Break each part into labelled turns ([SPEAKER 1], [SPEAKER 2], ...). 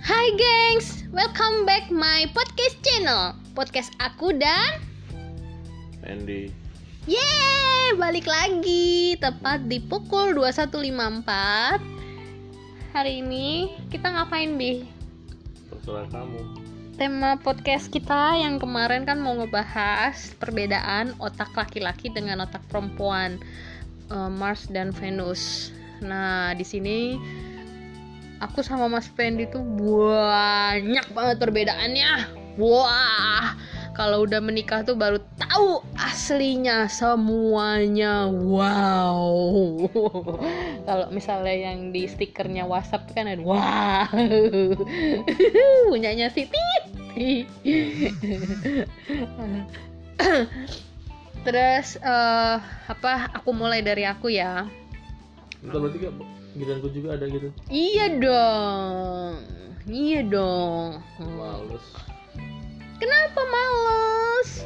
[SPEAKER 1] Hai gengs, welcome back my podcast channel Podcast aku dan
[SPEAKER 2] Andy
[SPEAKER 1] Yeay, balik lagi Tepat di pukul 21.54 Hari ini kita ngapain Bi?
[SPEAKER 2] terserah kamu
[SPEAKER 1] Tema podcast kita yang kemarin kan mau ngebahas Perbedaan otak laki-laki dengan otak perempuan eh, Mars dan Venus Nah, di sini aku sama Mas Fendi tuh banyak banget perbedaannya. Wah, kalau udah menikah tuh baru tahu aslinya semuanya. Wow. kalau misalnya yang di stikernya WhatsApp kan ada wow. Punyanya si Titi. Terus eh, apa? Aku mulai dari aku ya.
[SPEAKER 2] Ntar berarti gak giliran gue juga ada gitu
[SPEAKER 1] Iya dong. Iya dong.
[SPEAKER 2] males
[SPEAKER 1] Kenapa males?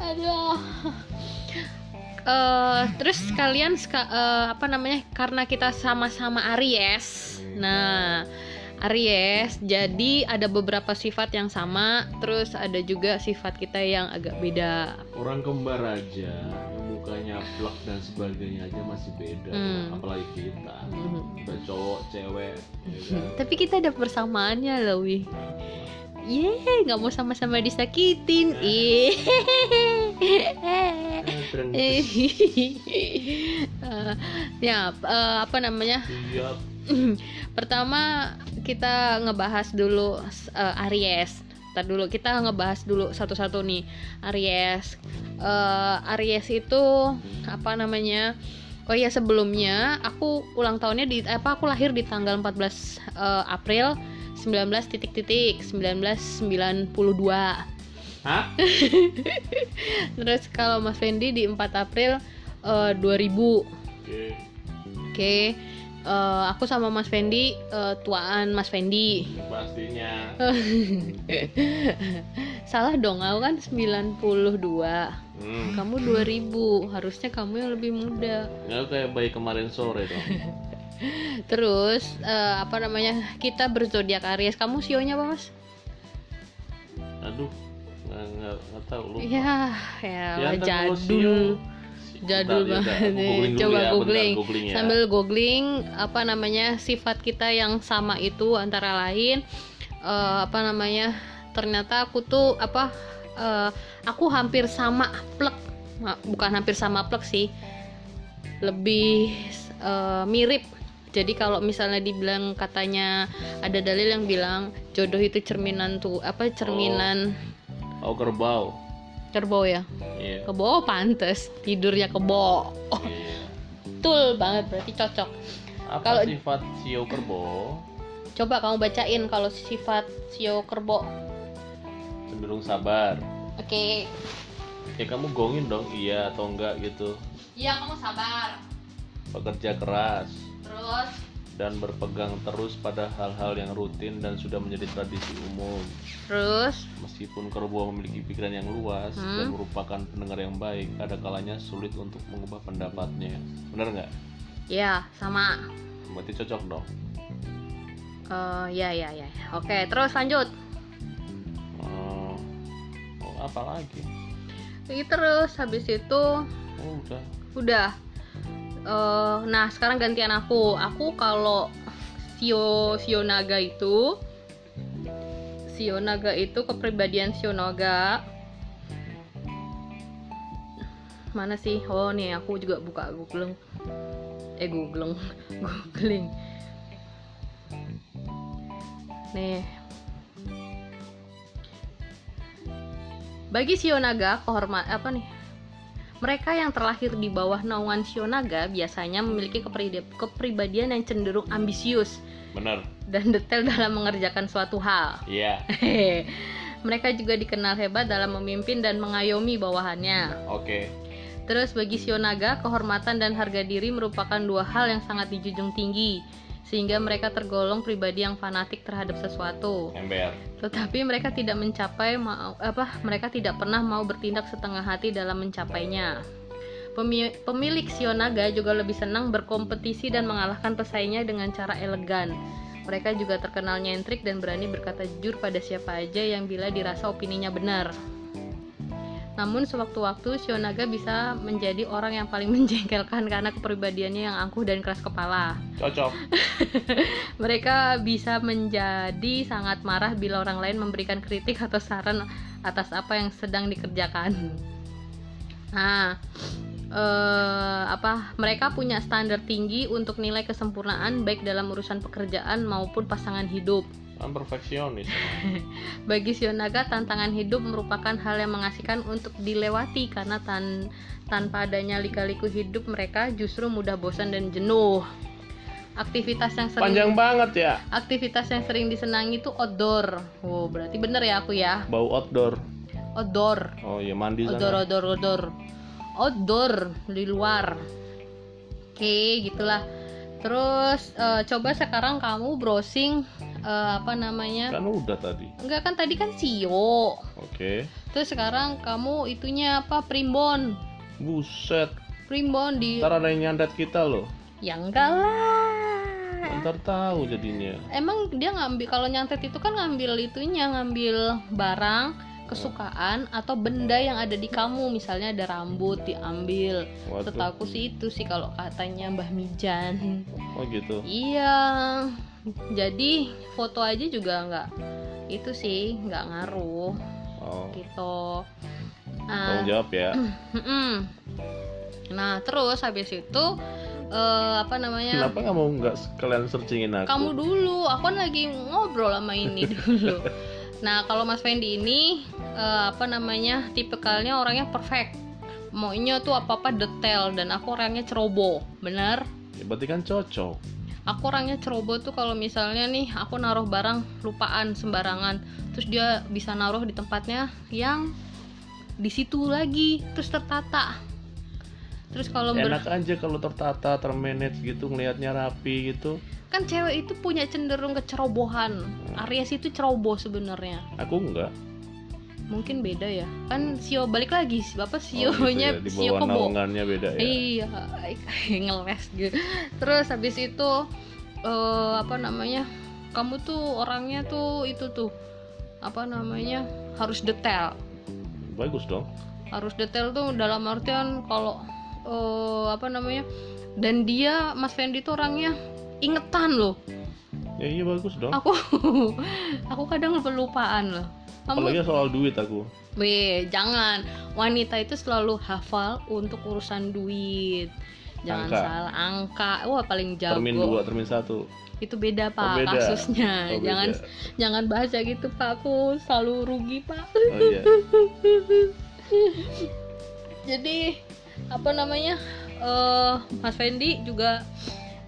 [SPEAKER 1] Aduh. Eh, terus kalian seka- eh, apa namanya? Karena kita sama-sama Aries. Nah, Aries, jadi ada beberapa sifat yang sama, terus ada juga sifat kita yang agak beda.
[SPEAKER 2] orang kembar aja yang mukanya plak dan sebagainya aja masih beda
[SPEAKER 1] Hmm.
[SPEAKER 2] apalagi kita
[SPEAKER 1] Hmm.
[SPEAKER 2] kita cowok cewek ya kan?
[SPEAKER 1] Tapi kita ada persamaannya loh, Wi. Yeay, nggak mau sama-sama disakitin. Ih.
[SPEAKER 2] Eh, keren.
[SPEAKER 1] Eh, eh, ya, eh, apa namanya?
[SPEAKER 2] siap
[SPEAKER 1] Pertama kita ngebahas dulu eh, Aries. Ntar dulu kita ngebahas dulu satu-satu nih Aries. Eh, Aries itu apa namanya? Oh iya sebelumnya aku ulang tahunnya di eh, apa aku lahir di tanggal 14 eh, April 19 titik titik 1992
[SPEAKER 2] hah
[SPEAKER 1] Terus kalau Mas Fendi di 4 April eh, 2000.
[SPEAKER 2] oke
[SPEAKER 1] Oke. Eh, aku sama Mas Fendi eh, tuaan Mas Fendi.
[SPEAKER 2] pastinya
[SPEAKER 1] Salah dong, aku kan 92.
[SPEAKER 2] hmm.
[SPEAKER 1] Kamu 2000. Harusnya kamu yang lebih muda.
[SPEAKER 2] nggak kayak bayi kemarin sore dong
[SPEAKER 1] Terus eh, apa namanya? Kita berzodiak Aries. Kamu sionya apa, Mas?
[SPEAKER 2] aduh nggak nggak nggak tahu lu
[SPEAKER 1] Ya, ya
[SPEAKER 2] Ya, ntar lu
[SPEAKER 1] jadul.
[SPEAKER 2] siung. Si-
[SPEAKER 1] Jadul banget
[SPEAKER 2] bentar, ya, bentar. Aku
[SPEAKER 1] nih.
[SPEAKER 2] googling dulu
[SPEAKER 1] Coba
[SPEAKER 2] ya, bentar,
[SPEAKER 1] googling.
[SPEAKER 2] googling ya.
[SPEAKER 1] sambil googling apa namanya sifat kita yang sama itu antara lain eh, apa namanya ternyata aku tuh apa eh, aku hampir sama plek Ma- bukan hampir sama plek sih lebih eh, mirip jadi kalau misalnya dibilang katanya ada dalil yang bilang jodoh itu cerminan tuh apa cerminan
[SPEAKER 2] oh kerbau
[SPEAKER 1] kerbau ya
[SPEAKER 2] iya
[SPEAKER 1] kebo pantes tidurnya kebo oh,
[SPEAKER 2] Iya.
[SPEAKER 1] betul banget berarti cocok
[SPEAKER 2] apa
[SPEAKER 1] Kalau-
[SPEAKER 2] sifat sio kerbau
[SPEAKER 1] Coba kamu bacain kalau sifat Sio Kerbo.
[SPEAKER 2] cenderung sabar
[SPEAKER 1] Oke.
[SPEAKER 2] ya kamu gongin dong iya atau enggak gitu
[SPEAKER 1] Iya, kamu sabar.
[SPEAKER 2] pekerja keras
[SPEAKER 1] Terus
[SPEAKER 2] dan berpegang terus pada hal-hal yang rutin dan sudah menjadi tradisi umum
[SPEAKER 1] terus
[SPEAKER 2] meskipun kerbau memiliki pikiran yang luas
[SPEAKER 1] Hmm.
[SPEAKER 2] dan merupakan pendengar yang baik ada kalanya sulit untuk mengubah pendapatnya benar nggak
[SPEAKER 1] ya sama
[SPEAKER 2] berarti cocok dong
[SPEAKER 1] Eh, ya ya ya. Oke, terus lanjut.
[SPEAKER 2] Hmm, oh, apa lagi
[SPEAKER 1] Ini terus habis itu
[SPEAKER 2] oh, udah
[SPEAKER 1] udah Eh, nah, sekarang gantian aku. Aku kalau Sio Sio Naga itu Sio Naga itu kepribadian Sio Naga. Mana sih? Oh, nih aku juga buka Google. Eh, Google. Googling. Nih. Bagi Sio Naga, kehormat apa nih? Mereka yang terlahir di bawah naungan Sionaga biasanya memiliki kepride- kepribadian yang cenderung ambisius
[SPEAKER 2] benar
[SPEAKER 1] dan detail dalam mengerjakan suatu hal.
[SPEAKER 2] iya
[SPEAKER 1] Mereka juga dikenal hebat dalam memimpin dan mengayomi bawahannya.
[SPEAKER 2] oke
[SPEAKER 1] Terus bagi Sionaga, kehormatan dan harga diri merupakan dua hal yang sangat dijunjung tinggi, sehingga mereka tergolong pribadi yang fanatik terhadap sesuatu.
[SPEAKER 2] ember
[SPEAKER 1] Tetapi mereka tidak mencapai mau apa mereka tidak pernah mau bertindak setengah hati dalam mencapainya. Pemi- Pemilik Sionaga juga lebih senang berkompetisi dan mengalahkan pesaingnya dengan cara elegan. Mereka juga terkenal nyentrik dan berani berkata jujur pada siapa aja yang bila dirasa opininya benar. Namun sewaktu-waktu Sionaga bisa menjadi orang yang paling menjengkelkan karena kepribadiannya yang angkuh dan keras kepala.
[SPEAKER 2] Cocok.
[SPEAKER 1] Mereka bisa menjadi sangat marah bila orang lain memberikan kritik atau saran atas apa yang sedang dikerjakan. Nah, eh, apa mereka punya standar tinggi untuk nilai kesempurnaan baik dalam urusan pekerjaan maupun pasangan hidup.
[SPEAKER 2] Kan perfeksionis.
[SPEAKER 1] Bagi Sionaga, tantangan hidup merupakan hal yang mengasihkan untuk dilewati karena tan- tanpa adanya lika-liku hidup mereka justru mudah bosan dan jenuh. Aktivitas yang sering
[SPEAKER 2] Panjang banget ya.
[SPEAKER 1] aktivitas yang sering disenangi itu outdoor. Wow, berarti bener ya aku ya.
[SPEAKER 2] Bau outdoor.
[SPEAKER 1] Outdoor.
[SPEAKER 2] Oh ya mandi
[SPEAKER 1] Outdoor,
[SPEAKER 2] sana.
[SPEAKER 1] outdoor, outdoor. Outdoor di luar. Oke, gitulah. Terus eh, coba sekarang kamu browsing eh, apa namanya?
[SPEAKER 2] Kan udah tadi.
[SPEAKER 1] Enggak kan tadi kan Sio.
[SPEAKER 2] Oke.
[SPEAKER 1] Terus sekarang kamu itunya apa? Primbon.
[SPEAKER 2] Buset.
[SPEAKER 1] Primbon di
[SPEAKER 2] Ntar ada yang nyandat kita loh.
[SPEAKER 1] ya enggak lah.
[SPEAKER 2] Ntar tahu jadinya.
[SPEAKER 1] Emang dia ngambil kalau nyantet itu kan ngambil itunya ngambil barang kesukaan atau benda yang ada di kamu misalnya ada rambut diambil
[SPEAKER 2] Waduh.
[SPEAKER 1] setahu aku sih itu sih kalau katanya Mbah Mijan
[SPEAKER 2] Oh gitu.
[SPEAKER 1] iya jadi foto aja juga nggak itu sih nggak ngaruh
[SPEAKER 2] Oh.
[SPEAKER 1] gitu nah,
[SPEAKER 2] Tanggung jawab ya.
[SPEAKER 1] Mm-mm. Nah, terus habis itu eh, apa namanya?
[SPEAKER 2] Kenapa nggak mau nggak kalian searchingin aku?
[SPEAKER 1] Kamu dulu, aku kan lagi ngobrol sama ini dulu. nah, kalau Mas Fendi ini eh, apa namanya? Tipikalnya orangnya perfect. Maunya tuh apa-apa detail dan aku orangnya ceroboh. Bener?
[SPEAKER 2] Ya, berarti kan cocok.
[SPEAKER 1] Aku orangnya ceroboh tuh kalau misalnya nih aku naruh barang lupaan sembarangan, terus dia bisa naruh di tempatnya yang di situ lagi, terus tertata. Terus kalau ber-
[SPEAKER 2] Enak aja kalau tertata, termanage gitu, ngelihatnya rapi gitu.
[SPEAKER 1] kan cewek itu punya cenderung kecerobohan Aries itu ceroboh sebenarnya
[SPEAKER 2] Aku nggak. Oh,
[SPEAKER 1] mungkin beda ya kan sio balik lagi bapak sio
[SPEAKER 2] Oh, gitu
[SPEAKER 1] nya
[SPEAKER 2] ya, Di
[SPEAKER 1] sio
[SPEAKER 2] bawah
[SPEAKER 1] kebo
[SPEAKER 2] naungannya beda ya.
[SPEAKER 1] iya ngeles gitu terus habis itu eh, apa namanya kamu tuh orangnya tuh itu tuh apa namanya harus detail
[SPEAKER 2] Bagus dong.
[SPEAKER 1] harus detail tuh dalam artian kalau eh, apa namanya dan dia Mas Fendi tuh orangnya ingetan loh
[SPEAKER 2] Ya iya bagus dong.
[SPEAKER 1] aku aku kadang lupaan loh kamu
[SPEAKER 2] Apalagi soal duit aku.
[SPEAKER 1] weh jangan wanita itu selalu hafal untuk urusan duit jangan
[SPEAKER 2] Angka.
[SPEAKER 1] salah angka wah paling jago
[SPEAKER 2] Termin 2, termin 1.
[SPEAKER 1] itu beda
[SPEAKER 2] Oh,
[SPEAKER 1] pak
[SPEAKER 2] beda.
[SPEAKER 1] kasusnya
[SPEAKER 2] Oh, beda.
[SPEAKER 1] jangan jangan baca gitu pak aku selalu rugi pak
[SPEAKER 2] Oh iya.
[SPEAKER 1] jadi apa namanya eh Mas Fendi juga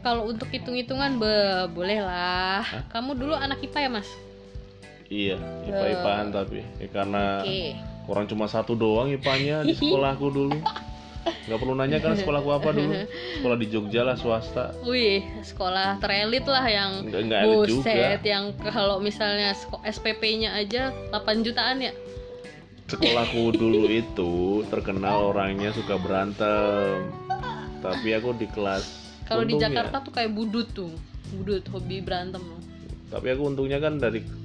[SPEAKER 1] kalau untuk hitung-hitungan be- boleh lah
[SPEAKER 2] Hah?
[SPEAKER 1] kamu dulu anak IPA ya mas
[SPEAKER 2] Iya, IPA-IPAan tapi Ya, karena
[SPEAKER 1] oke
[SPEAKER 2] orang cuma satu doang IPA-nya di sekolahku dulu. Nggak perlu nanya karena sekolahku apa dulu. Sekolah di Jogja lah swasta.
[SPEAKER 1] wih sekolah terelit lah yang
[SPEAKER 2] Nggak, nggak elit juga.
[SPEAKER 1] Buset, yang kalau misalnya sko- SPP-nya aja 8 jutaan ya?
[SPEAKER 2] Sekolahku dulu itu terkenal orangnya suka berantem. Tapi aku di kelas
[SPEAKER 1] Kalau di
[SPEAKER 2] untungnya-
[SPEAKER 1] Jakarta tuh kayak budut tuh. Budut, hobi berantem. loh.
[SPEAKER 2] Tapi aku untungnya kan dari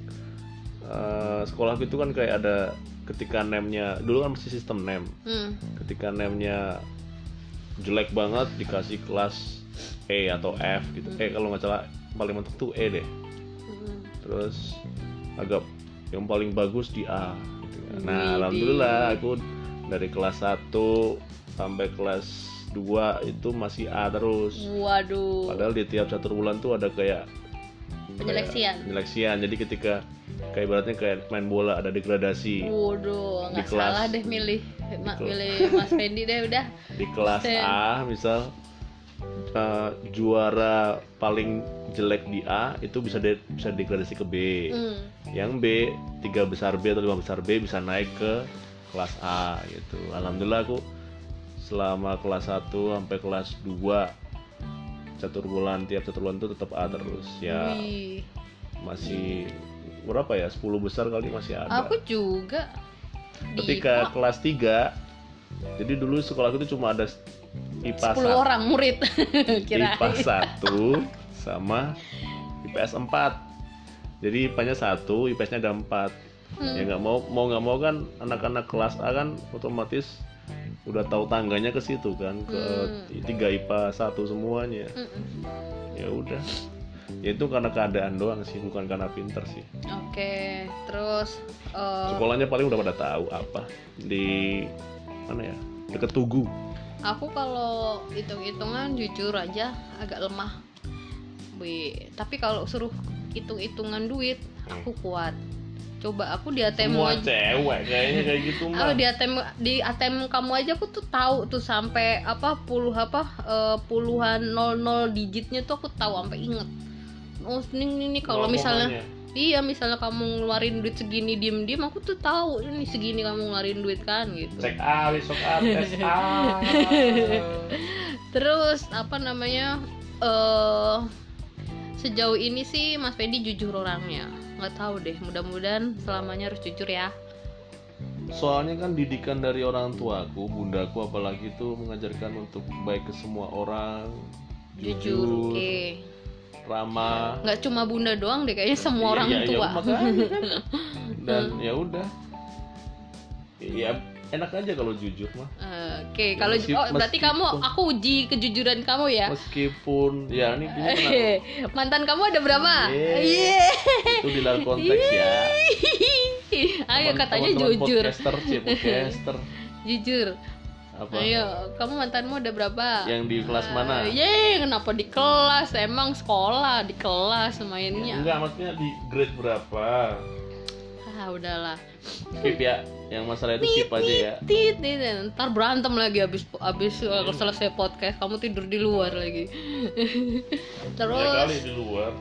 [SPEAKER 2] eh, sekolahku itu kan kayak ada ketika name-nya dulu kan masih sistem name.
[SPEAKER 1] Hmm.
[SPEAKER 2] ketika name-nya jelek banget dikasih kelas E atau F gitu. Eh kalau nggak salah paling mentok tuh E deh.
[SPEAKER 1] Hmm.
[SPEAKER 2] Terus agak yang paling bagus di A. Gitu. kan. Nah
[SPEAKER 1] Widih.
[SPEAKER 2] alhamdulillah aku dari kelas 1 sampai kelas 2 itu masih A terus.
[SPEAKER 1] Waduh.
[SPEAKER 2] Padahal di tiap satu bulan tuh ada kayak kayak
[SPEAKER 1] Penyeleksian.
[SPEAKER 2] Penyeleksian. Jadi ketika kayak ibaratnya kayak main bola ada degradasi.
[SPEAKER 1] Waduh,
[SPEAKER 2] Di
[SPEAKER 1] nggak
[SPEAKER 2] kelas.
[SPEAKER 1] salah deh milih Ma-
[SPEAKER 2] kelas.
[SPEAKER 1] milih Mas Fendi deh udah.
[SPEAKER 2] di kelas
[SPEAKER 1] Buset.
[SPEAKER 2] A misal eh, juara paling jelek di A itu bisa de- bisa degradasi ke B.
[SPEAKER 1] Hmm.
[SPEAKER 2] Yang B tiga besar B atau lima besar B bisa naik ke kelas A gitu. Alhamdulillah aku selama kelas 1 sampai kelas 2 catur bulan tiap catur bulan itu tetap A terus ya
[SPEAKER 1] Wih.
[SPEAKER 2] masih berapa ya 10 besar kali masih ada
[SPEAKER 1] Aku juga di
[SPEAKER 2] ketika kelas 3 jadi dulu sekolahku itu cuma ada IPA
[SPEAKER 1] 10 orang murid kira
[SPEAKER 2] IPA 1 sama IPS 4 jadi IPA-nya 1, IPS-nya ada 4
[SPEAKER 1] Hmm.
[SPEAKER 2] ya nggak mau mau nggak mau kan anak-anak kelas A kan otomatis udah tahu tangganya ke situ kan ke
[SPEAKER 1] Hmm.
[SPEAKER 2] tiga IPA satu semuanya ya udah ya itu karena keadaan doang sih bukan karena pinter sih
[SPEAKER 1] oke terus eh,
[SPEAKER 2] sekolahnya paling udah pada tahu apa di mana ya deket Tugu
[SPEAKER 1] aku kalau hitung-hitungan jujur aja agak lemah Bi- tapi kalau suruh hitung-hitungan duit aku kuat coba aku di ATM
[SPEAKER 2] Hmm. semua
[SPEAKER 1] aja-
[SPEAKER 2] cewek kayaknya kayak gitu mah
[SPEAKER 1] Oh, di ATM di ATM kamu aja aku tuh tahu tuh sampai apa puluh apa eh, puluhan nol nol digitnya tuh aku tahu sampai inget. Oh, ini ini, ini kalau
[SPEAKER 2] Ngomongnya.
[SPEAKER 1] misalnya iya misalnya kamu ngeluarin duit segini diem diem aku tuh tahu ini segini kamu ngeluarin duit kan gitu.
[SPEAKER 2] cek A besok A tes A
[SPEAKER 1] Terus apa namanya eh sejauh ini sih Mas Pedi jujur orangnya. Nggak tahu deh, mudah-mudahan selamanya harus jujur ya.
[SPEAKER 2] soalnya kan didikan dari orang tuaku bundaku apalagi itu mengajarkan untuk baik ke semua orang
[SPEAKER 1] Jujur, oke.
[SPEAKER 2] ramah
[SPEAKER 1] nggak cuma bunda doang deh kayaknya semua
[SPEAKER 2] Iya,
[SPEAKER 1] orang
[SPEAKER 2] iya, iya,
[SPEAKER 1] tua
[SPEAKER 2] makanya kan. dan ya udah ya enak aja kalau jujur mah
[SPEAKER 1] Eh, oke kalau
[SPEAKER 2] Meskip-
[SPEAKER 1] oh berarti
[SPEAKER 2] meskipun-
[SPEAKER 1] kamu aku uji kejujuran kamu ya
[SPEAKER 2] meskipun ya ini ini kena-
[SPEAKER 1] mantan kamu ada berapa
[SPEAKER 2] Yeay.
[SPEAKER 1] Iya.
[SPEAKER 2] itu di dalam konteks ya
[SPEAKER 1] ayo
[SPEAKER 2] Teman-
[SPEAKER 1] katanya
[SPEAKER 2] teman-teman
[SPEAKER 1] jujur
[SPEAKER 2] podcaster cie, podcaster
[SPEAKER 1] jujur
[SPEAKER 2] apa
[SPEAKER 1] ayo kamu mantanmu ada berapa
[SPEAKER 2] yang di kelas mana
[SPEAKER 1] Eh, yeay, kenapa di kelas emang sekolah di kelas mainnya
[SPEAKER 2] Iya, enggak maksudnya di grade berapa
[SPEAKER 1] ah udahlah
[SPEAKER 2] skip ya yang masalah itu skip aja ya
[SPEAKER 1] tit tit, tit. ntar berantem lagi abis abis eh, selesai podcast kamu tidur di luar lagi
[SPEAKER 2] ya
[SPEAKER 1] terus
[SPEAKER 2] kali di luar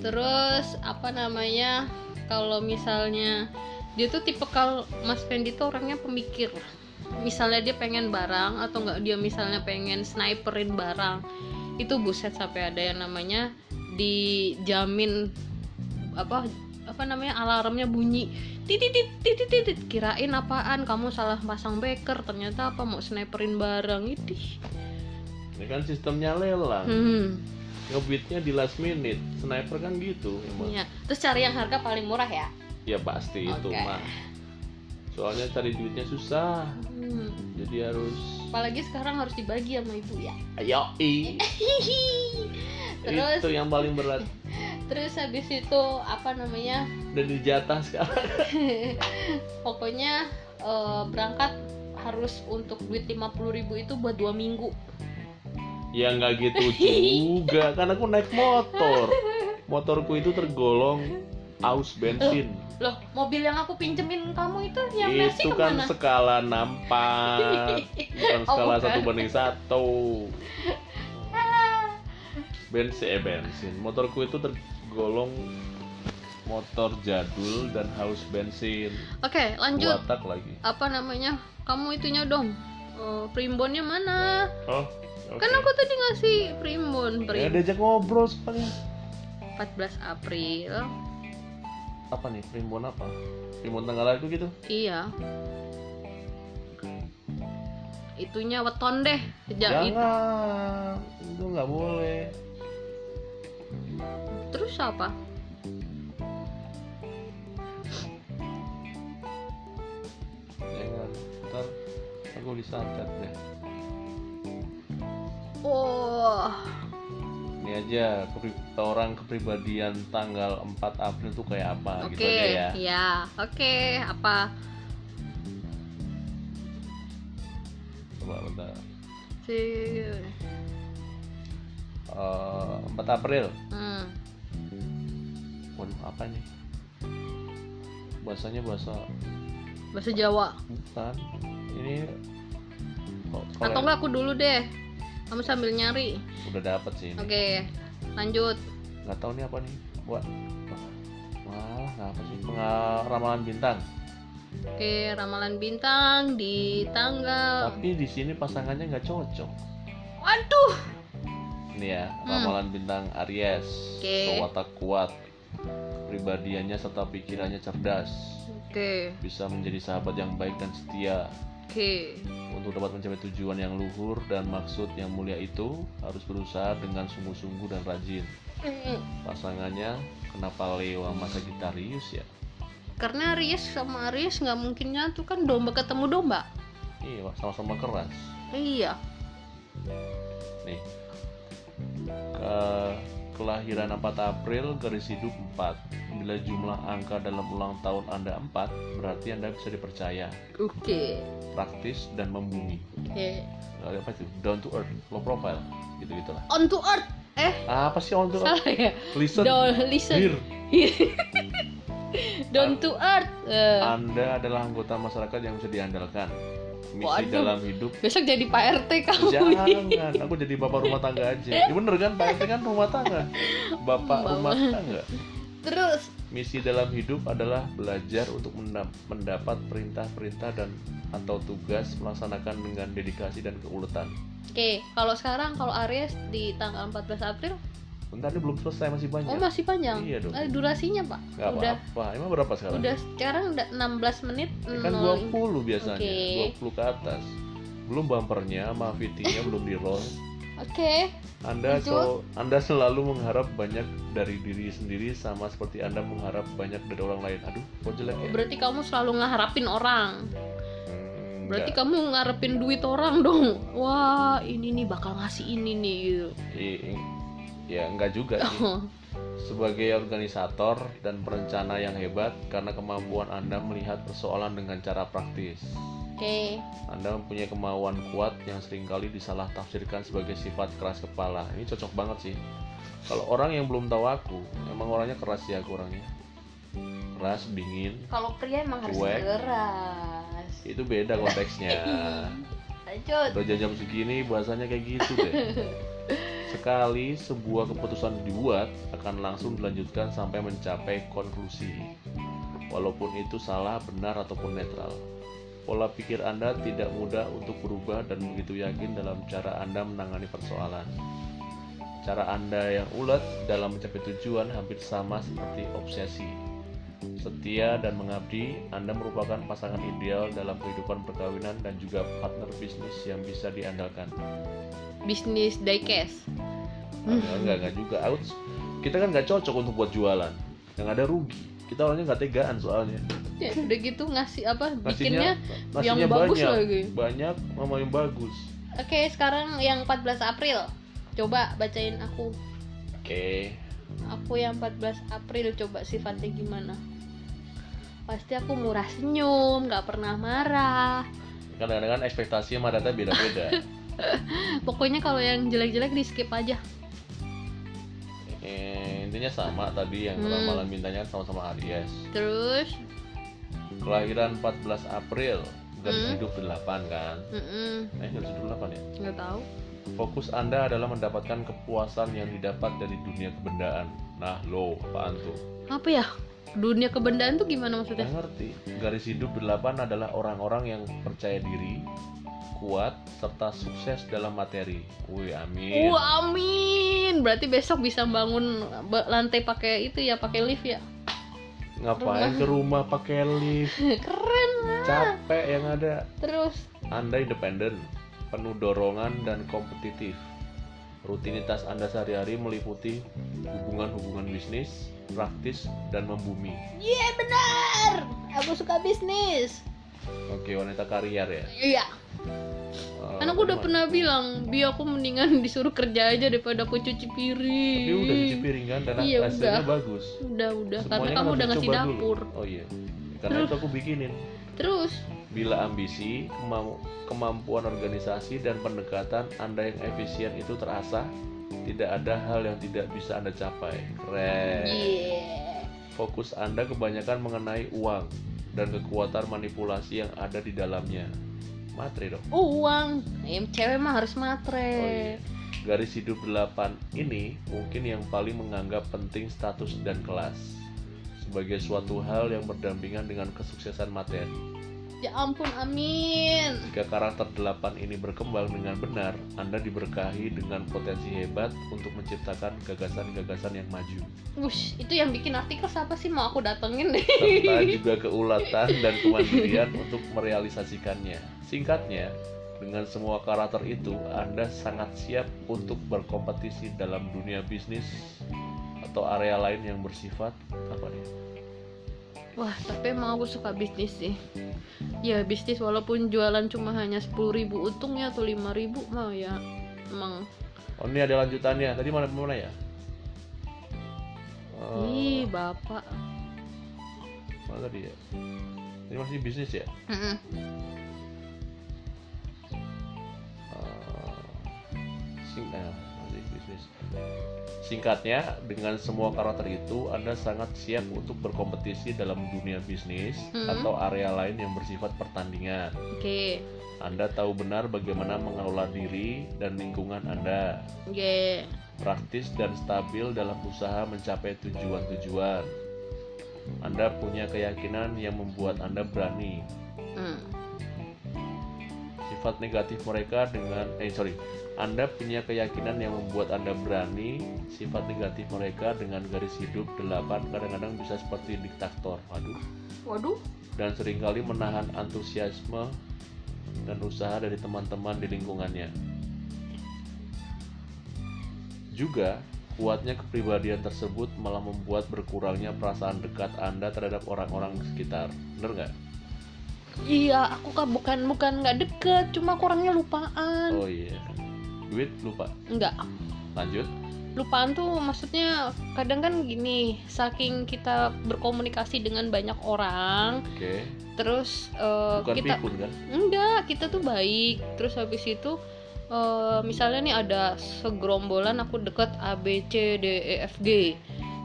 [SPEAKER 1] Terus apa namanya? Kalau misalnya dia tuh tipe kalau Mas Fendi tuh orangnya pemikir. Misalnya dia pengen barang atau enggak dia misalnya pengen sniperin barang. Itu buset sampai ada yang namanya dijamin apa apa namanya alarmnya bunyi titit titit titit kirain apaan kamu salah pasang beker ternyata apa mau sniperin barang itu
[SPEAKER 2] ya kan sistemnya lelang
[SPEAKER 1] hmm
[SPEAKER 2] ngebitnya di last minute sniper kan gitu emang
[SPEAKER 1] iya. terus cari yang harga paling murah ya
[SPEAKER 2] ya pasti itu
[SPEAKER 1] Oke.
[SPEAKER 2] mah soalnya cari duitnya susah
[SPEAKER 1] hmm.
[SPEAKER 2] jadi harus
[SPEAKER 1] Apalagi sekarang harus dibagi sama ibu ya.
[SPEAKER 2] ayo i
[SPEAKER 1] terus
[SPEAKER 2] itu yang paling berat
[SPEAKER 1] terus habis itu apa namanya?
[SPEAKER 2] dan dijatah sekarang
[SPEAKER 1] Pokoknya eh, berangkat harus untuk duit 50.000 itu buat dua minggu.
[SPEAKER 2] ya nggak gitu juga kan aku naik motor motorku itu tergolong aus bensin
[SPEAKER 1] Loh, mobil yang aku pinjemin kamu itu yang Mercy
[SPEAKER 2] itu kan
[SPEAKER 1] kemana?
[SPEAKER 2] skala nampak bukan
[SPEAKER 1] Oh,
[SPEAKER 2] skala
[SPEAKER 1] bukan.
[SPEAKER 2] satu banding satu bensin eh bensin motorku itu tergolong motor jadul dan haus bensin
[SPEAKER 1] Oke, lanjut.
[SPEAKER 2] watak lagi
[SPEAKER 1] Apa namanya? Kamu itunya dong. Eh, primbonnya mana?
[SPEAKER 2] oh
[SPEAKER 1] Kan aku tadi ngasih primbon,
[SPEAKER 2] ya,
[SPEAKER 1] primbon
[SPEAKER 2] diajak ngobrol soalnya
[SPEAKER 1] 14 April.
[SPEAKER 2] apa nih primbon apa primbon tanggal aku gitu
[SPEAKER 1] Iya. Itunya weton deh. Sejak itu
[SPEAKER 2] jangan itu nggak boleh
[SPEAKER 1] Terus apa?
[SPEAKER 2] jangan Ya, ntar aku disantet deh
[SPEAKER 1] Oh,
[SPEAKER 2] ini aja kepri- orang kepribadian tanggal 4 April tuh kayak apa
[SPEAKER 1] oke,
[SPEAKER 2] gitu aja ya
[SPEAKER 1] ya, oke, apa
[SPEAKER 2] coba bentar
[SPEAKER 1] sih?
[SPEAKER 2] Eh, 4 April
[SPEAKER 1] Hmm,
[SPEAKER 2] waduh apa nih bahasanya bahasa
[SPEAKER 1] bahasa Jawa.
[SPEAKER 2] bukan ini kok kok
[SPEAKER 1] Atau enggak aku dulu deh. Kamu sambil nyari.
[SPEAKER 2] udah dapet sih ini
[SPEAKER 1] Oke, lanjut.
[SPEAKER 2] nggak tahu nih apa nih buat malah nggak apa sih Pengal- ramalan bintang
[SPEAKER 1] Oke, ramalan bintang di tanggal.
[SPEAKER 2] tapi di sini pasangannya nggak cocok
[SPEAKER 1] Waduh.
[SPEAKER 2] ini ya ramalan bintang Aries
[SPEAKER 1] Oke.
[SPEAKER 2] berwatak kuat pribadiannya serta pikirannya cerdas
[SPEAKER 1] Oke,
[SPEAKER 2] bisa menjadi sahabat yang baik dan setia Untuk dapat mencapai tujuan yang luhur dan maksud yang mulia itu harus berusaha dengan sungguh-sungguh dan rajin. Pasangannya kenapa Leo sama Sagittarius ya?
[SPEAKER 1] Karena Aries sama Aries nggak mungkin nyatu kan domba ketemu domba.
[SPEAKER 2] Iya, sama-sama keras.
[SPEAKER 1] Iya.
[SPEAKER 2] Nih. Ke- kelahiran 4 April garis hidup 4. Bila jumlah angka dalam ulang tahun Anda 4, berarti Anda bisa dipercaya,
[SPEAKER 1] Oke.
[SPEAKER 2] praktis dan membumi.
[SPEAKER 1] Oke.
[SPEAKER 2] Eh, Apa itu? Down to earth, low profile, gitu-gitu lah.
[SPEAKER 1] On to earth. Eh,
[SPEAKER 2] Apa sih on to earth?
[SPEAKER 1] salah ya.
[SPEAKER 2] Listen,
[SPEAKER 1] Don't listen.
[SPEAKER 2] hear.
[SPEAKER 1] Down to earth. Eh,
[SPEAKER 2] Anda adalah anggota masyarakat yang bisa diandalkan. Misi
[SPEAKER 1] Waduh.
[SPEAKER 2] dalam hidup
[SPEAKER 1] besok jadi Pak RT kamu.
[SPEAKER 2] Jangan, aku jadi bapak rumah tangga aja. Ya bener kan, Pak RT kan rumah tangga. Bapak rumah tangga.
[SPEAKER 1] Terus
[SPEAKER 2] Misi dalam hidup adalah belajar untuk mendap- mendapat perintah-perintah dan atau tugas melaksanakan dengan dedikasi dan keuletan.
[SPEAKER 1] Oke, kalau sekarang kalau Aries di tanggal 14 April,
[SPEAKER 2] Bentar ini belum selesai masih banyak.
[SPEAKER 1] oh masih panjang.
[SPEAKER 2] Iya dong.
[SPEAKER 1] Eh, durasinya, Pak.
[SPEAKER 2] Gak
[SPEAKER 1] udah
[SPEAKER 2] apa-apa. Emang berapa sekarang?
[SPEAKER 1] udah sekarang udah 16 menit
[SPEAKER 2] Ya kan 20
[SPEAKER 1] nol-
[SPEAKER 2] biasanya,
[SPEAKER 1] Oke.
[SPEAKER 2] 20 ke atas. Belum bumpernya, sama VT-nya belum di roll.
[SPEAKER 1] Oke.
[SPEAKER 2] Anda
[SPEAKER 1] Lanjut.
[SPEAKER 2] so- Anda selalu mengharap banyak dari diri sendiri sama seperti Anda mengharap banyak dari orang lain. Aduh, kok jelek ya?
[SPEAKER 1] Berarti kamu selalu ngeharapin orang.
[SPEAKER 2] Hmm,
[SPEAKER 1] Berarti
[SPEAKER 2] enggak.
[SPEAKER 1] kamu ngarepin duit orang dong. Wah, ini nih bakal ngasih ini nih gitu.
[SPEAKER 2] I- i- ya enggak juga sih. Sebagai organisator dan perencana yang hebat karena kemampuan Anda melihat persoalan dengan cara praktis.
[SPEAKER 1] Oke.
[SPEAKER 2] Anda mempunyai kemauan kuat yang seringkali disalah tafsirkan sebagai sifat keras kepala. Ini cocok banget sih. Kalau orang yang belum tahu aku, emang orangnya keras ya aku orangnya. Keras, dingin,
[SPEAKER 1] Kalau pria emang harus
[SPEAKER 2] Cuek. Iya.
[SPEAKER 1] keras.
[SPEAKER 2] itu beda konteksnya
[SPEAKER 1] Lanjut.
[SPEAKER 2] udah jam segini bahasanya kayak gitu deh sekali sebuah keputusan dibuat akan langsung dilanjutkan sampai mencapai konklusi walaupun itu salah benar ataupun netral pola pikir anda tidak mudah untuk berubah dan begitu yakin dalam cara anda menangani persoalan cara anda yang ulet dalam mencapai tujuan hampir sama seperti obsesi setia dan mengabdi, Anda merupakan pasangan ideal dalam kehidupan perkawinan dan juga partner bisnis yang bisa diandalkan.
[SPEAKER 1] Hmm. Bisnis diecast.
[SPEAKER 2] Enggak, enggak, enggak juga. Out. Kita kan nggak cocok untuk buat jualan. Yang ada rugi. Kita orangnya nggak tegaan soalnya.
[SPEAKER 1] Ya, udah gitu ngasih apa? Bikinnya
[SPEAKER 2] Nasinya,
[SPEAKER 1] yang
[SPEAKER 2] nasinya
[SPEAKER 1] bagus
[SPEAKER 2] banyak,
[SPEAKER 1] lagi.
[SPEAKER 2] banyak sama yang bagus.
[SPEAKER 1] Oke, sekarang yang 14 April. Coba bacain aku.
[SPEAKER 2] Oke.
[SPEAKER 1] Aku yang 14 April coba sifatnya gimana? Pasti aku murah senyum, nggak pernah marah.
[SPEAKER 2] Kadang-kadang kan ekspektasi sama data beda-beda.
[SPEAKER 1] Pokoknya kalau yang jelek-jelek di skip aja.
[SPEAKER 2] Eh, intinya sama tadi yang
[SPEAKER 1] Hmm.
[SPEAKER 2] malam bintangnya sama-sama Aries.
[SPEAKER 1] Terus,
[SPEAKER 2] Kelahiran 14 April, garis
[SPEAKER 1] Hmm.
[SPEAKER 2] hidup 8 kan.
[SPEAKER 1] mm-mm,
[SPEAKER 2] Eh, garis hidup 8 ya.
[SPEAKER 1] nggak tahu.
[SPEAKER 2] Fokus Anda adalah mendapatkan kepuasan yang didapat dari dunia kebendaan. Nah, lo, apaan tuh?
[SPEAKER 1] Apa ya? Dunia kebendaan tuh gimana maksudnya?
[SPEAKER 2] Nggak ngerti. Garis hidup delapan adalah orang-orang yang percaya diri, kuat, serta sukses dalam materi. Wih, amin.
[SPEAKER 1] Wah, Uh, amin. Berarti besok bisa bangun ba- lantai pakai itu ya, pakai lift ya.
[SPEAKER 2] Ngapain ke rumah pakai lift?
[SPEAKER 1] Keren lah.
[SPEAKER 2] Capek yang ada.
[SPEAKER 1] Terus,
[SPEAKER 2] Anda independen, penuh dorongan dan kompetitif. Rutinitas Anda sehari-hari meliputi hubungan-hubungan bisnis, praktis, dan membumi.
[SPEAKER 1] iya benar. Aku suka bisnis.
[SPEAKER 2] Oke, wanita karier ya.
[SPEAKER 1] Iya.
[SPEAKER 2] Eh,
[SPEAKER 1] Kan aku udah
[SPEAKER 2] gimana?
[SPEAKER 1] pernah bilang, bi aku mendingan disuruh kerja aja daripada aku cuci piring.
[SPEAKER 2] Tapi udah cuci piring kan dan
[SPEAKER 1] Iya,
[SPEAKER 2] hasilnya
[SPEAKER 1] udah.
[SPEAKER 2] bagus.
[SPEAKER 1] Udah, udah. Karena
[SPEAKER 2] Semuanya kan
[SPEAKER 1] kamu
[SPEAKER 2] harus
[SPEAKER 1] udah ngasih
[SPEAKER 2] dicoba dulu.
[SPEAKER 1] dapur.
[SPEAKER 2] Oh iya. Karena itu aku bikinin.
[SPEAKER 1] Terus,
[SPEAKER 2] Bila ambisi, kemau- kemampuan organisasi dan pendekatan Anda yang efisien itu terasa, tidak ada hal yang tidak bisa Anda capai. Keren.
[SPEAKER 1] Iya. yeah.
[SPEAKER 2] Fokus Anda kebanyakan mengenai uang dan kekuatan manipulasi yang ada di dalamnya. Materi dong.
[SPEAKER 1] uang. Em, cewek mah harus
[SPEAKER 2] Oh, iya.
[SPEAKER 1] matre.
[SPEAKER 2] Garis hidup 8 ini mungkin yang paling menganggap penting status dan kelas sebagai suatu hal yang berdampingan dengan kesuksesan materi.
[SPEAKER 1] Ya ampun, amin.
[SPEAKER 2] Jika karakter delapan ini berkembang dengan benar, Anda diberkahi dengan potensi hebat untuk menciptakan gagasan-gagasan yang maju.
[SPEAKER 1] Wush, itu yang bikin artikel siapa sih mau aku datengin deh.
[SPEAKER 2] Serta juga keulatan dan kemandirian untuk merealisasikannya. Singkatnya, dengan semua karakter itu, Anda sangat siap untuk berkompetisi dalam dunia bisnis atau area lain yang bersifat apa nih?
[SPEAKER 1] Wah, tapi emang aku suka bisnis sih. Ya bisnis walaupun jualan cuma hanya 10.000 ribu untungnya atau 5.000 ribu mah ya emang.
[SPEAKER 2] Oh ini ada lanjutannya. Tadi mana mana ya?
[SPEAKER 1] Ih,
[SPEAKER 2] Eh,
[SPEAKER 1] bapak.
[SPEAKER 2] mana tadi ya? Tadi masih bisnis ya?
[SPEAKER 1] Mm-mm.
[SPEAKER 2] Eh, sing eh, masih bisnis. Singkatnya, dengan semua karakter itu, Anda sangat siap untuk berkompetisi dalam dunia bisnis
[SPEAKER 1] Hmm.
[SPEAKER 2] atau area lain yang bersifat pertandingan.
[SPEAKER 1] Oke,
[SPEAKER 2] Anda tahu benar bagaimana mengelola diri dan lingkungan Anda,
[SPEAKER 1] oke.
[SPEAKER 2] praktis dan stabil dalam usaha mencapai tujuan-tujuan. Anda punya keyakinan yang membuat Anda berani.
[SPEAKER 1] Hmm.
[SPEAKER 2] Sifat negatif mereka dengan eh sorry, Anda punya keyakinan yang membuat Anda berani. Sifat negatif mereka dengan garis hidup 8 kadang-kadang bisa seperti diktator. Aduh.
[SPEAKER 1] Waduh.
[SPEAKER 2] Dan seringkali menahan antusiasme dan usaha dari teman-teman di lingkungannya. Juga, kuatnya kepribadian tersebut malah membuat berkurangnya perasaan dekat Anda terhadap orang-orang di sekitar. Bener nggak?
[SPEAKER 1] Iya, aku kan bukan bukan nggak deket, cuma aku orangnya lupaan.
[SPEAKER 2] Oh iya. Duit lupa.
[SPEAKER 1] Nggak,
[SPEAKER 2] Lanjut.
[SPEAKER 1] lupaan tuh maksudnya kadang kan gini, saking kita berkomunikasi dengan banyak orang,
[SPEAKER 2] Oke.
[SPEAKER 1] terus eh,
[SPEAKER 2] Bukan
[SPEAKER 1] kita
[SPEAKER 2] pikun kan?
[SPEAKER 1] enggak kita tuh baik terus habis itu eh, misalnya nih ada segerombolan aku deket A B C D E F G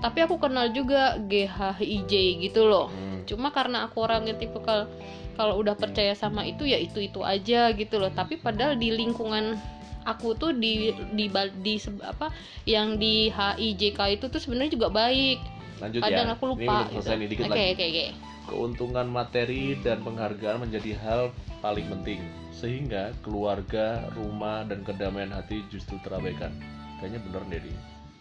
[SPEAKER 1] tapi aku kenal juga G H I J gitu loh
[SPEAKER 2] Hmm.
[SPEAKER 1] cuma karena aku orangnya tipikal kalau udah percaya sama itu ya itu itu aja gitu loh tapi padahal di lingkungan aku tuh di di, ba- di se- apa yang di H I J K itu tuh sebenarnya juga baik
[SPEAKER 2] Lanjut
[SPEAKER 1] kadang
[SPEAKER 2] ya.
[SPEAKER 1] aku
[SPEAKER 2] Ini
[SPEAKER 1] lupa
[SPEAKER 2] belum selesai
[SPEAKER 1] gitu.
[SPEAKER 2] nih, dikit
[SPEAKER 1] oke
[SPEAKER 2] lagi.
[SPEAKER 1] oke oke
[SPEAKER 2] Keuntungan materi dan penghargaan menjadi hal paling penting, sehingga keluarga, rumah, dan kedamaian hati justru terabaikan. Kayaknya bener deh, Di.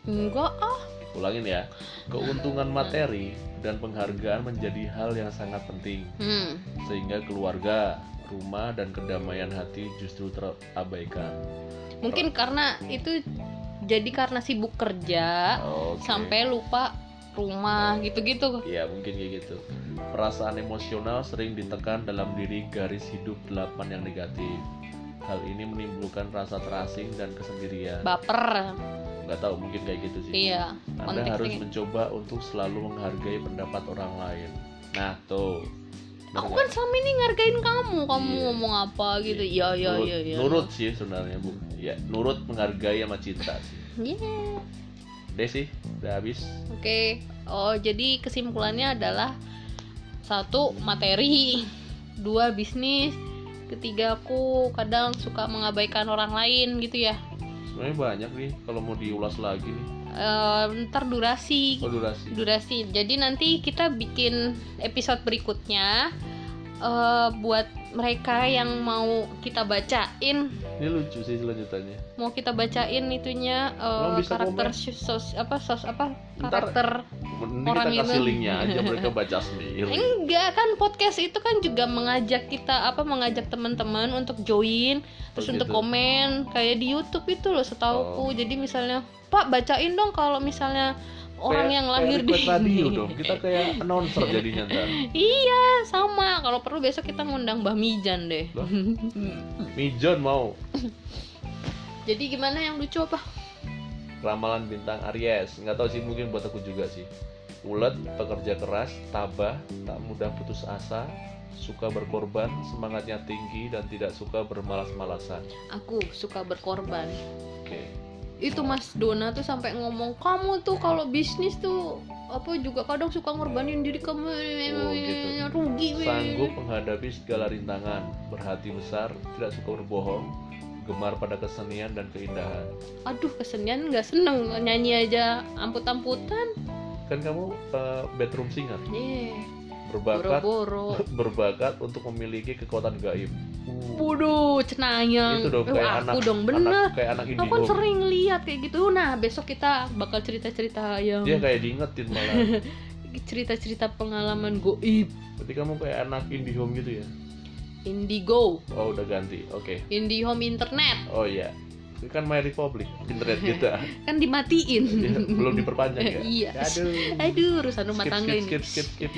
[SPEAKER 1] enggak ah
[SPEAKER 2] Ulangin ya, keuntungan materi dan penghargaan menjadi hal yang sangat penting,
[SPEAKER 1] hmm.
[SPEAKER 2] sehingga keluarga, rumah, dan kedamaian hati justru terabaikan.
[SPEAKER 1] mungkin karena itu jadi karena sibuk kerja
[SPEAKER 2] Oke.
[SPEAKER 1] sampai lupa rumah gitu-gitu
[SPEAKER 2] Ya mungkin kayak gitu Perasaan emosional sering ditekan dalam diri garis hidup 8 yang negatif Hal ini menimbulkan rasa terasing dan kesendirian
[SPEAKER 1] baper
[SPEAKER 2] Gak tahu mungkin kayak gitu sih
[SPEAKER 1] iya
[SPEAKER 2] Anda
[SPEAKER 1] konteksnya.
[SPEAKER 2] harus mencoba untuk selalu menghargai pendapat orang lain Nah tuh
[SPEAKER 1] aku kan selama ini ngargain kamu kamu
[SPEAKER 2] Iya.
[SPEAKER 1] ngomong apa gitu iya iya
[SPEAKER 2] nurut,
[SPEAKER 1] iya iya
[SPEAKER 2] nurut sih sebenarnya bu ya nurut menghargai sama cinta sih
[SPEAKER 1] Iya.
[SPEAKER 2] deh sih udah habis
[SPEAKER 1] oke oh jadi kesimpulannya adalah satu materi dua bisnis ketiga aku kadang suka mengabaikan orang lain gitu ya
[SPEAKER 2] sebenarnya banyak nih kalau mau diulas lagi nih
[SPEAKER 1] Eh, ntar durasi
[SPEAKER 2] oh, durasi
[SPEAKER 1] durasi. Jadi nanti kita bikin episode berikutnya eh, buat mereka yang mau kita bacain,
[SPEAKER 2] ini lucu sih selanjutannya
[SPEAKER 1] mau kita bacain itunya eh,
[SPEAKER 2] Emang bisa
[SPEAKER 1] karakter
[SPEAKER 2] komen?
[SPEAKER 1] sus- sos apa sos apa
[SPEAKER 2] Ntar-
[SPEAKER 1] karakter.
[SPEAKER 2] Ini
[SPEAKER 1] Orang
[SPEAKER 2] kita kasih
[SPEAKER 1] itu.
[SPEAKER 2] linknya aja mereka baca sendiri.
[SPEAKER 1] Enggak kan podcast itu kan juga mengajak kita apa mengajak teman-teman untuk join terus
[SPEAKER 2] Oh,
[SPEAKER 1] untuk
[SPEAKER 2] gitu.
[SPEAKER 1] komen kayak di YouTube itu loh setauku. Jadi misalnya Pak bacain dong kalau misalnya orang
[SPEAKER 2] Kayak-
[SPEAKER 1] yang
[SPEAKER 2] kayak
[SPEAKER 1] lahir di
[SPEAKER 2] request radio dong. Kita kayak announcer jadinya ntar.
[SPEAKER 1] Iya, sama. Kalau perlu besok kita ngundang Mbah Mijan deh.
[SPEAKER 2] Loh? Mijon mau
[SPEAKER 1] Jadi gimana yang lucu apa?
[SPEAKER 2] ramalan bintang Aries. Nggak tahu sih mungkin buat aku juga sih. Ulet, pekerja keras, tabah, tak mudah putus asa, suka berkorban, semangatnya tinggi dan tidak suka bermalas-malasan.
[SPEAKER 1] Aku suka berkorban.
[SPEAKER 2] Oke.
[SPEAKER 1] Itu Mas Dona tuh sampai ngomong, "Kamu tuh kalau bisnis tuh apa juga kadang suka ngorbanin diri kamu
[SPEAKER 2] Oh, gitu.
[SPEAKER 1] rugi weh."
[SPEAKER 2] Sanggup menghadapi segala rintangan, berhati besar, tidak suka berbohong, gemar pada kesenian dan keindahan.
[SPEAKER 1] aduh kesenian nggak seneng nyanyi aja amput amputan
[SPEAKER 2] Kan kamu eh, bedroom singer. berbakat
[SPEAKER 1] boro-boro
[SPEAKER 2] berbakat untuk memiliki kekuatan gaib.
[SPEAKER 1] Waduh, cenayang.
[SPEAKER 2] Itu
[SPEAKER 1] Duh,
[SPEAKER 2] dong kayak
[SPEAKER 1] aku
[SPEAKER 2] anak,
[SPEAKER 1] dong
[SPEAKER 2] anak
[SPEAKER 1] bener.
[SPEAKER 2] kayak anak
[SPEAKER 1] Aku kan
[SPEAKER 2] indigo.
[SPEAKER 1] sering lihat kayak gitu. Nah, besok kita bakal cerita-cerita yang
[SPEAKER 2] Dia kayak diingetin malah.
[SPEAKER 1] cerita-cerita pengalaman goib.
[SPEAKER 2] Berarti kamu kayak anak IndiHome gitu ya?
[SPEAKER 1] Indigo,
[SPEAKER 2] Oh udah ganti, oke.
[SPEAKER 1] Indihome internet
[SPEAKER 2] Oh iya, itu kan My Republic, internet kita
[SPEAKER 1] kan dimatiin.
[SPEAKER 2] Dia Iya, belum diperpanjang ya?
[SPEAKER 1] Iya.
[SPEAKER 2] Aduh.
[SPEAKER 1] Aduh, urusan rumah
[SPEAKER 2] skip,
[SPEAKER 1] tangga
[SPEAKER 2] skip,
[SPEAKER 1] ini.
[SPEAKER 2] skip, skip, skip.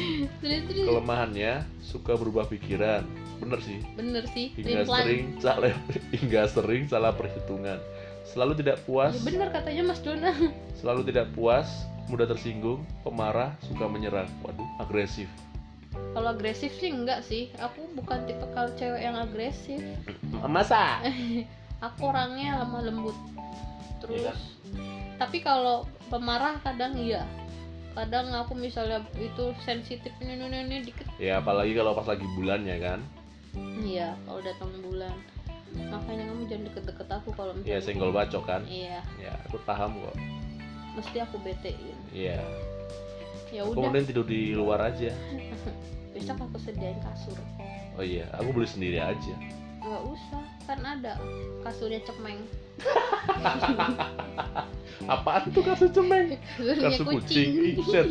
[SPEAKER 1] Terus, terus.
[SPEAKER 2] Kelemahannya suka berubah pikiran, bener sih.
[SPEAKER 1] Bener sih,
[SPEAKER 2] Hingga
[SPEAKER 1] Plan.
[SPEAKER 2] sering salah, hingga sering salah perhitungan. Selalu tidak puas,
[SPEAKER 1] Ya, bener katanya Mas Dona.
[SPEAKER 2] selalu tidak puas, mudah tersinggung, pemarah, suka menyerang. Waduh, agresif.
[SPEAKER 1] Kalau agresif sih enggak sih. Aku bukan tipe kalau cewek yang agresif.
[SPEAKER 2] Masa?
[SPEAKER 1] Aku orangnya lemah lembut. Terus
[SPEAKER 2] Iya.
[SPEAKER 1] tapi kalau pemarah kadang iya. Kadang aku misalnya itu sensitif ini ini ini dikit.
[SPEAKER 2] Ya apalagi kalau pas lagi bulannya kan.
[SPEAKER 1] Iya, kalau datang bulan. Makanya kamu jangan deket-deket aku kalau
[SPEAKER 2] Ya
[SPEAKER 1] misalnya.
[SPEAKER 2] senggol bacok kan.
[SPEAKER 1] Iya,
[SPEAKER 2] Ya aku paham kok.
[SPEAKER 1] mesti aku betein.
[SPEAKER 2] Iya.
[SPEAKER 1] Ya
[SPEAKER 2] Aku
[SPEAKER 1] udah,
[SPEAKER 2] Kemudian tidur di luar aja.
[SPEAKER 1] besok aku sediain kasur.
[SPEAKER 2] Oh iya, aku beli sendiri aja.
[SPEAKER 1] Gak usah, kan ada kasurnya cemeng.
[SPEAKER 2] Apaan tuh kasur cemeng?
[SPEAKER 1] Kasurnya
[SPEAKER 2] Kasur kucing. Set.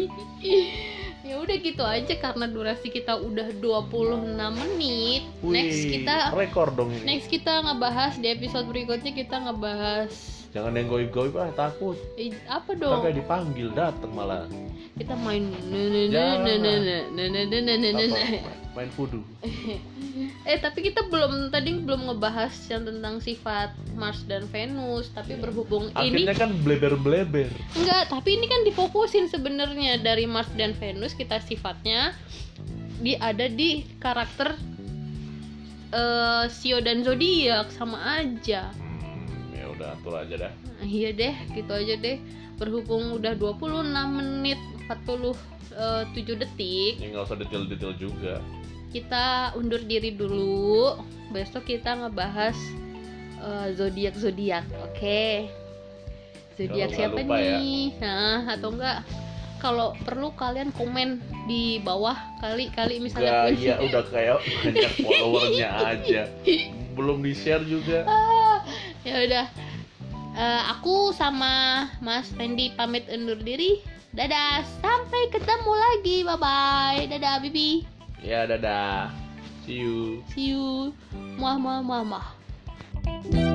[SPEAKER 1] ya udah gitu aja karena durasi kita udah 26 menit.
[SPEAKER 2] Wih,
[SPEAKER 1] Next kita
[SPEAKER 2] rekor dong ini.
[SPEAKER 1] next kita ngebahas di episode berikutnya kita ngebahas
[SPEAKER 2] Jangan yang goib-goib ah takut.
[SPEAKER 1] eh, apa
[SPEAKER 2] Ntar
[SPEAKER 1] dong?
[SPEAKER 2] kayak dipanggil dateng malah.
[SPEAKER 1] Kita main
[SPEAKER 2] Jangan. Apa?
[SPEAKER 1] nenenenenenenenenenenenenenen.
[SPEAKER 2] Main kudu.
[SPEAKER 1] Eh tapi kita belum tadi belum ngebahas yang tentang sifat Mars dan Venus tapi berhubung ini
[SPEAKER 2] Akhirnya kan bleber-bleber.
[SPEAKER 1] Enggak, tapi ini kan difokusin sebenarnya dari Mars dan Venus kita sifatnya di ada di karakter eh Sio dan zodiak sama aja.
[SPEAKER 2] Hmm, ya udah atur aja dah.
[SPEAKER 1] Nah, iya deh, gitu aja deh. Berhubung udah 26 menit 47 detik,
[SPEAKER 2] Ya nggak usah detail-detail juga.
[SPEAKER 1] kita undur diri dulu. Besok kita ngebahas eh, zodiak-zodiak, oke? Zodiak
[SPEAKER 2] Kalau nggak
[SPEAKER 1] siapa
[SPEAKER 2] lupa ya.
[SPEAKER 1] nih? Nah, atau enggak? Kalau perlu kalian komen di bawah kali-kali misalnya pun.
[SPEAKER 2] Gaya Iya, udah kayak banyak followernya aja. Belum di-share juga.
[SPEAKER 1] Ya udah. Eh, aku sama Mas Fendi pamit undur diri. Dadah, sampai ketemu lagi. Bye bye. Dadah, Bibi.
[SPEAKER 2] Ya dadah. See you.
[SPEAKER 1] See you. Muah muah muah muah.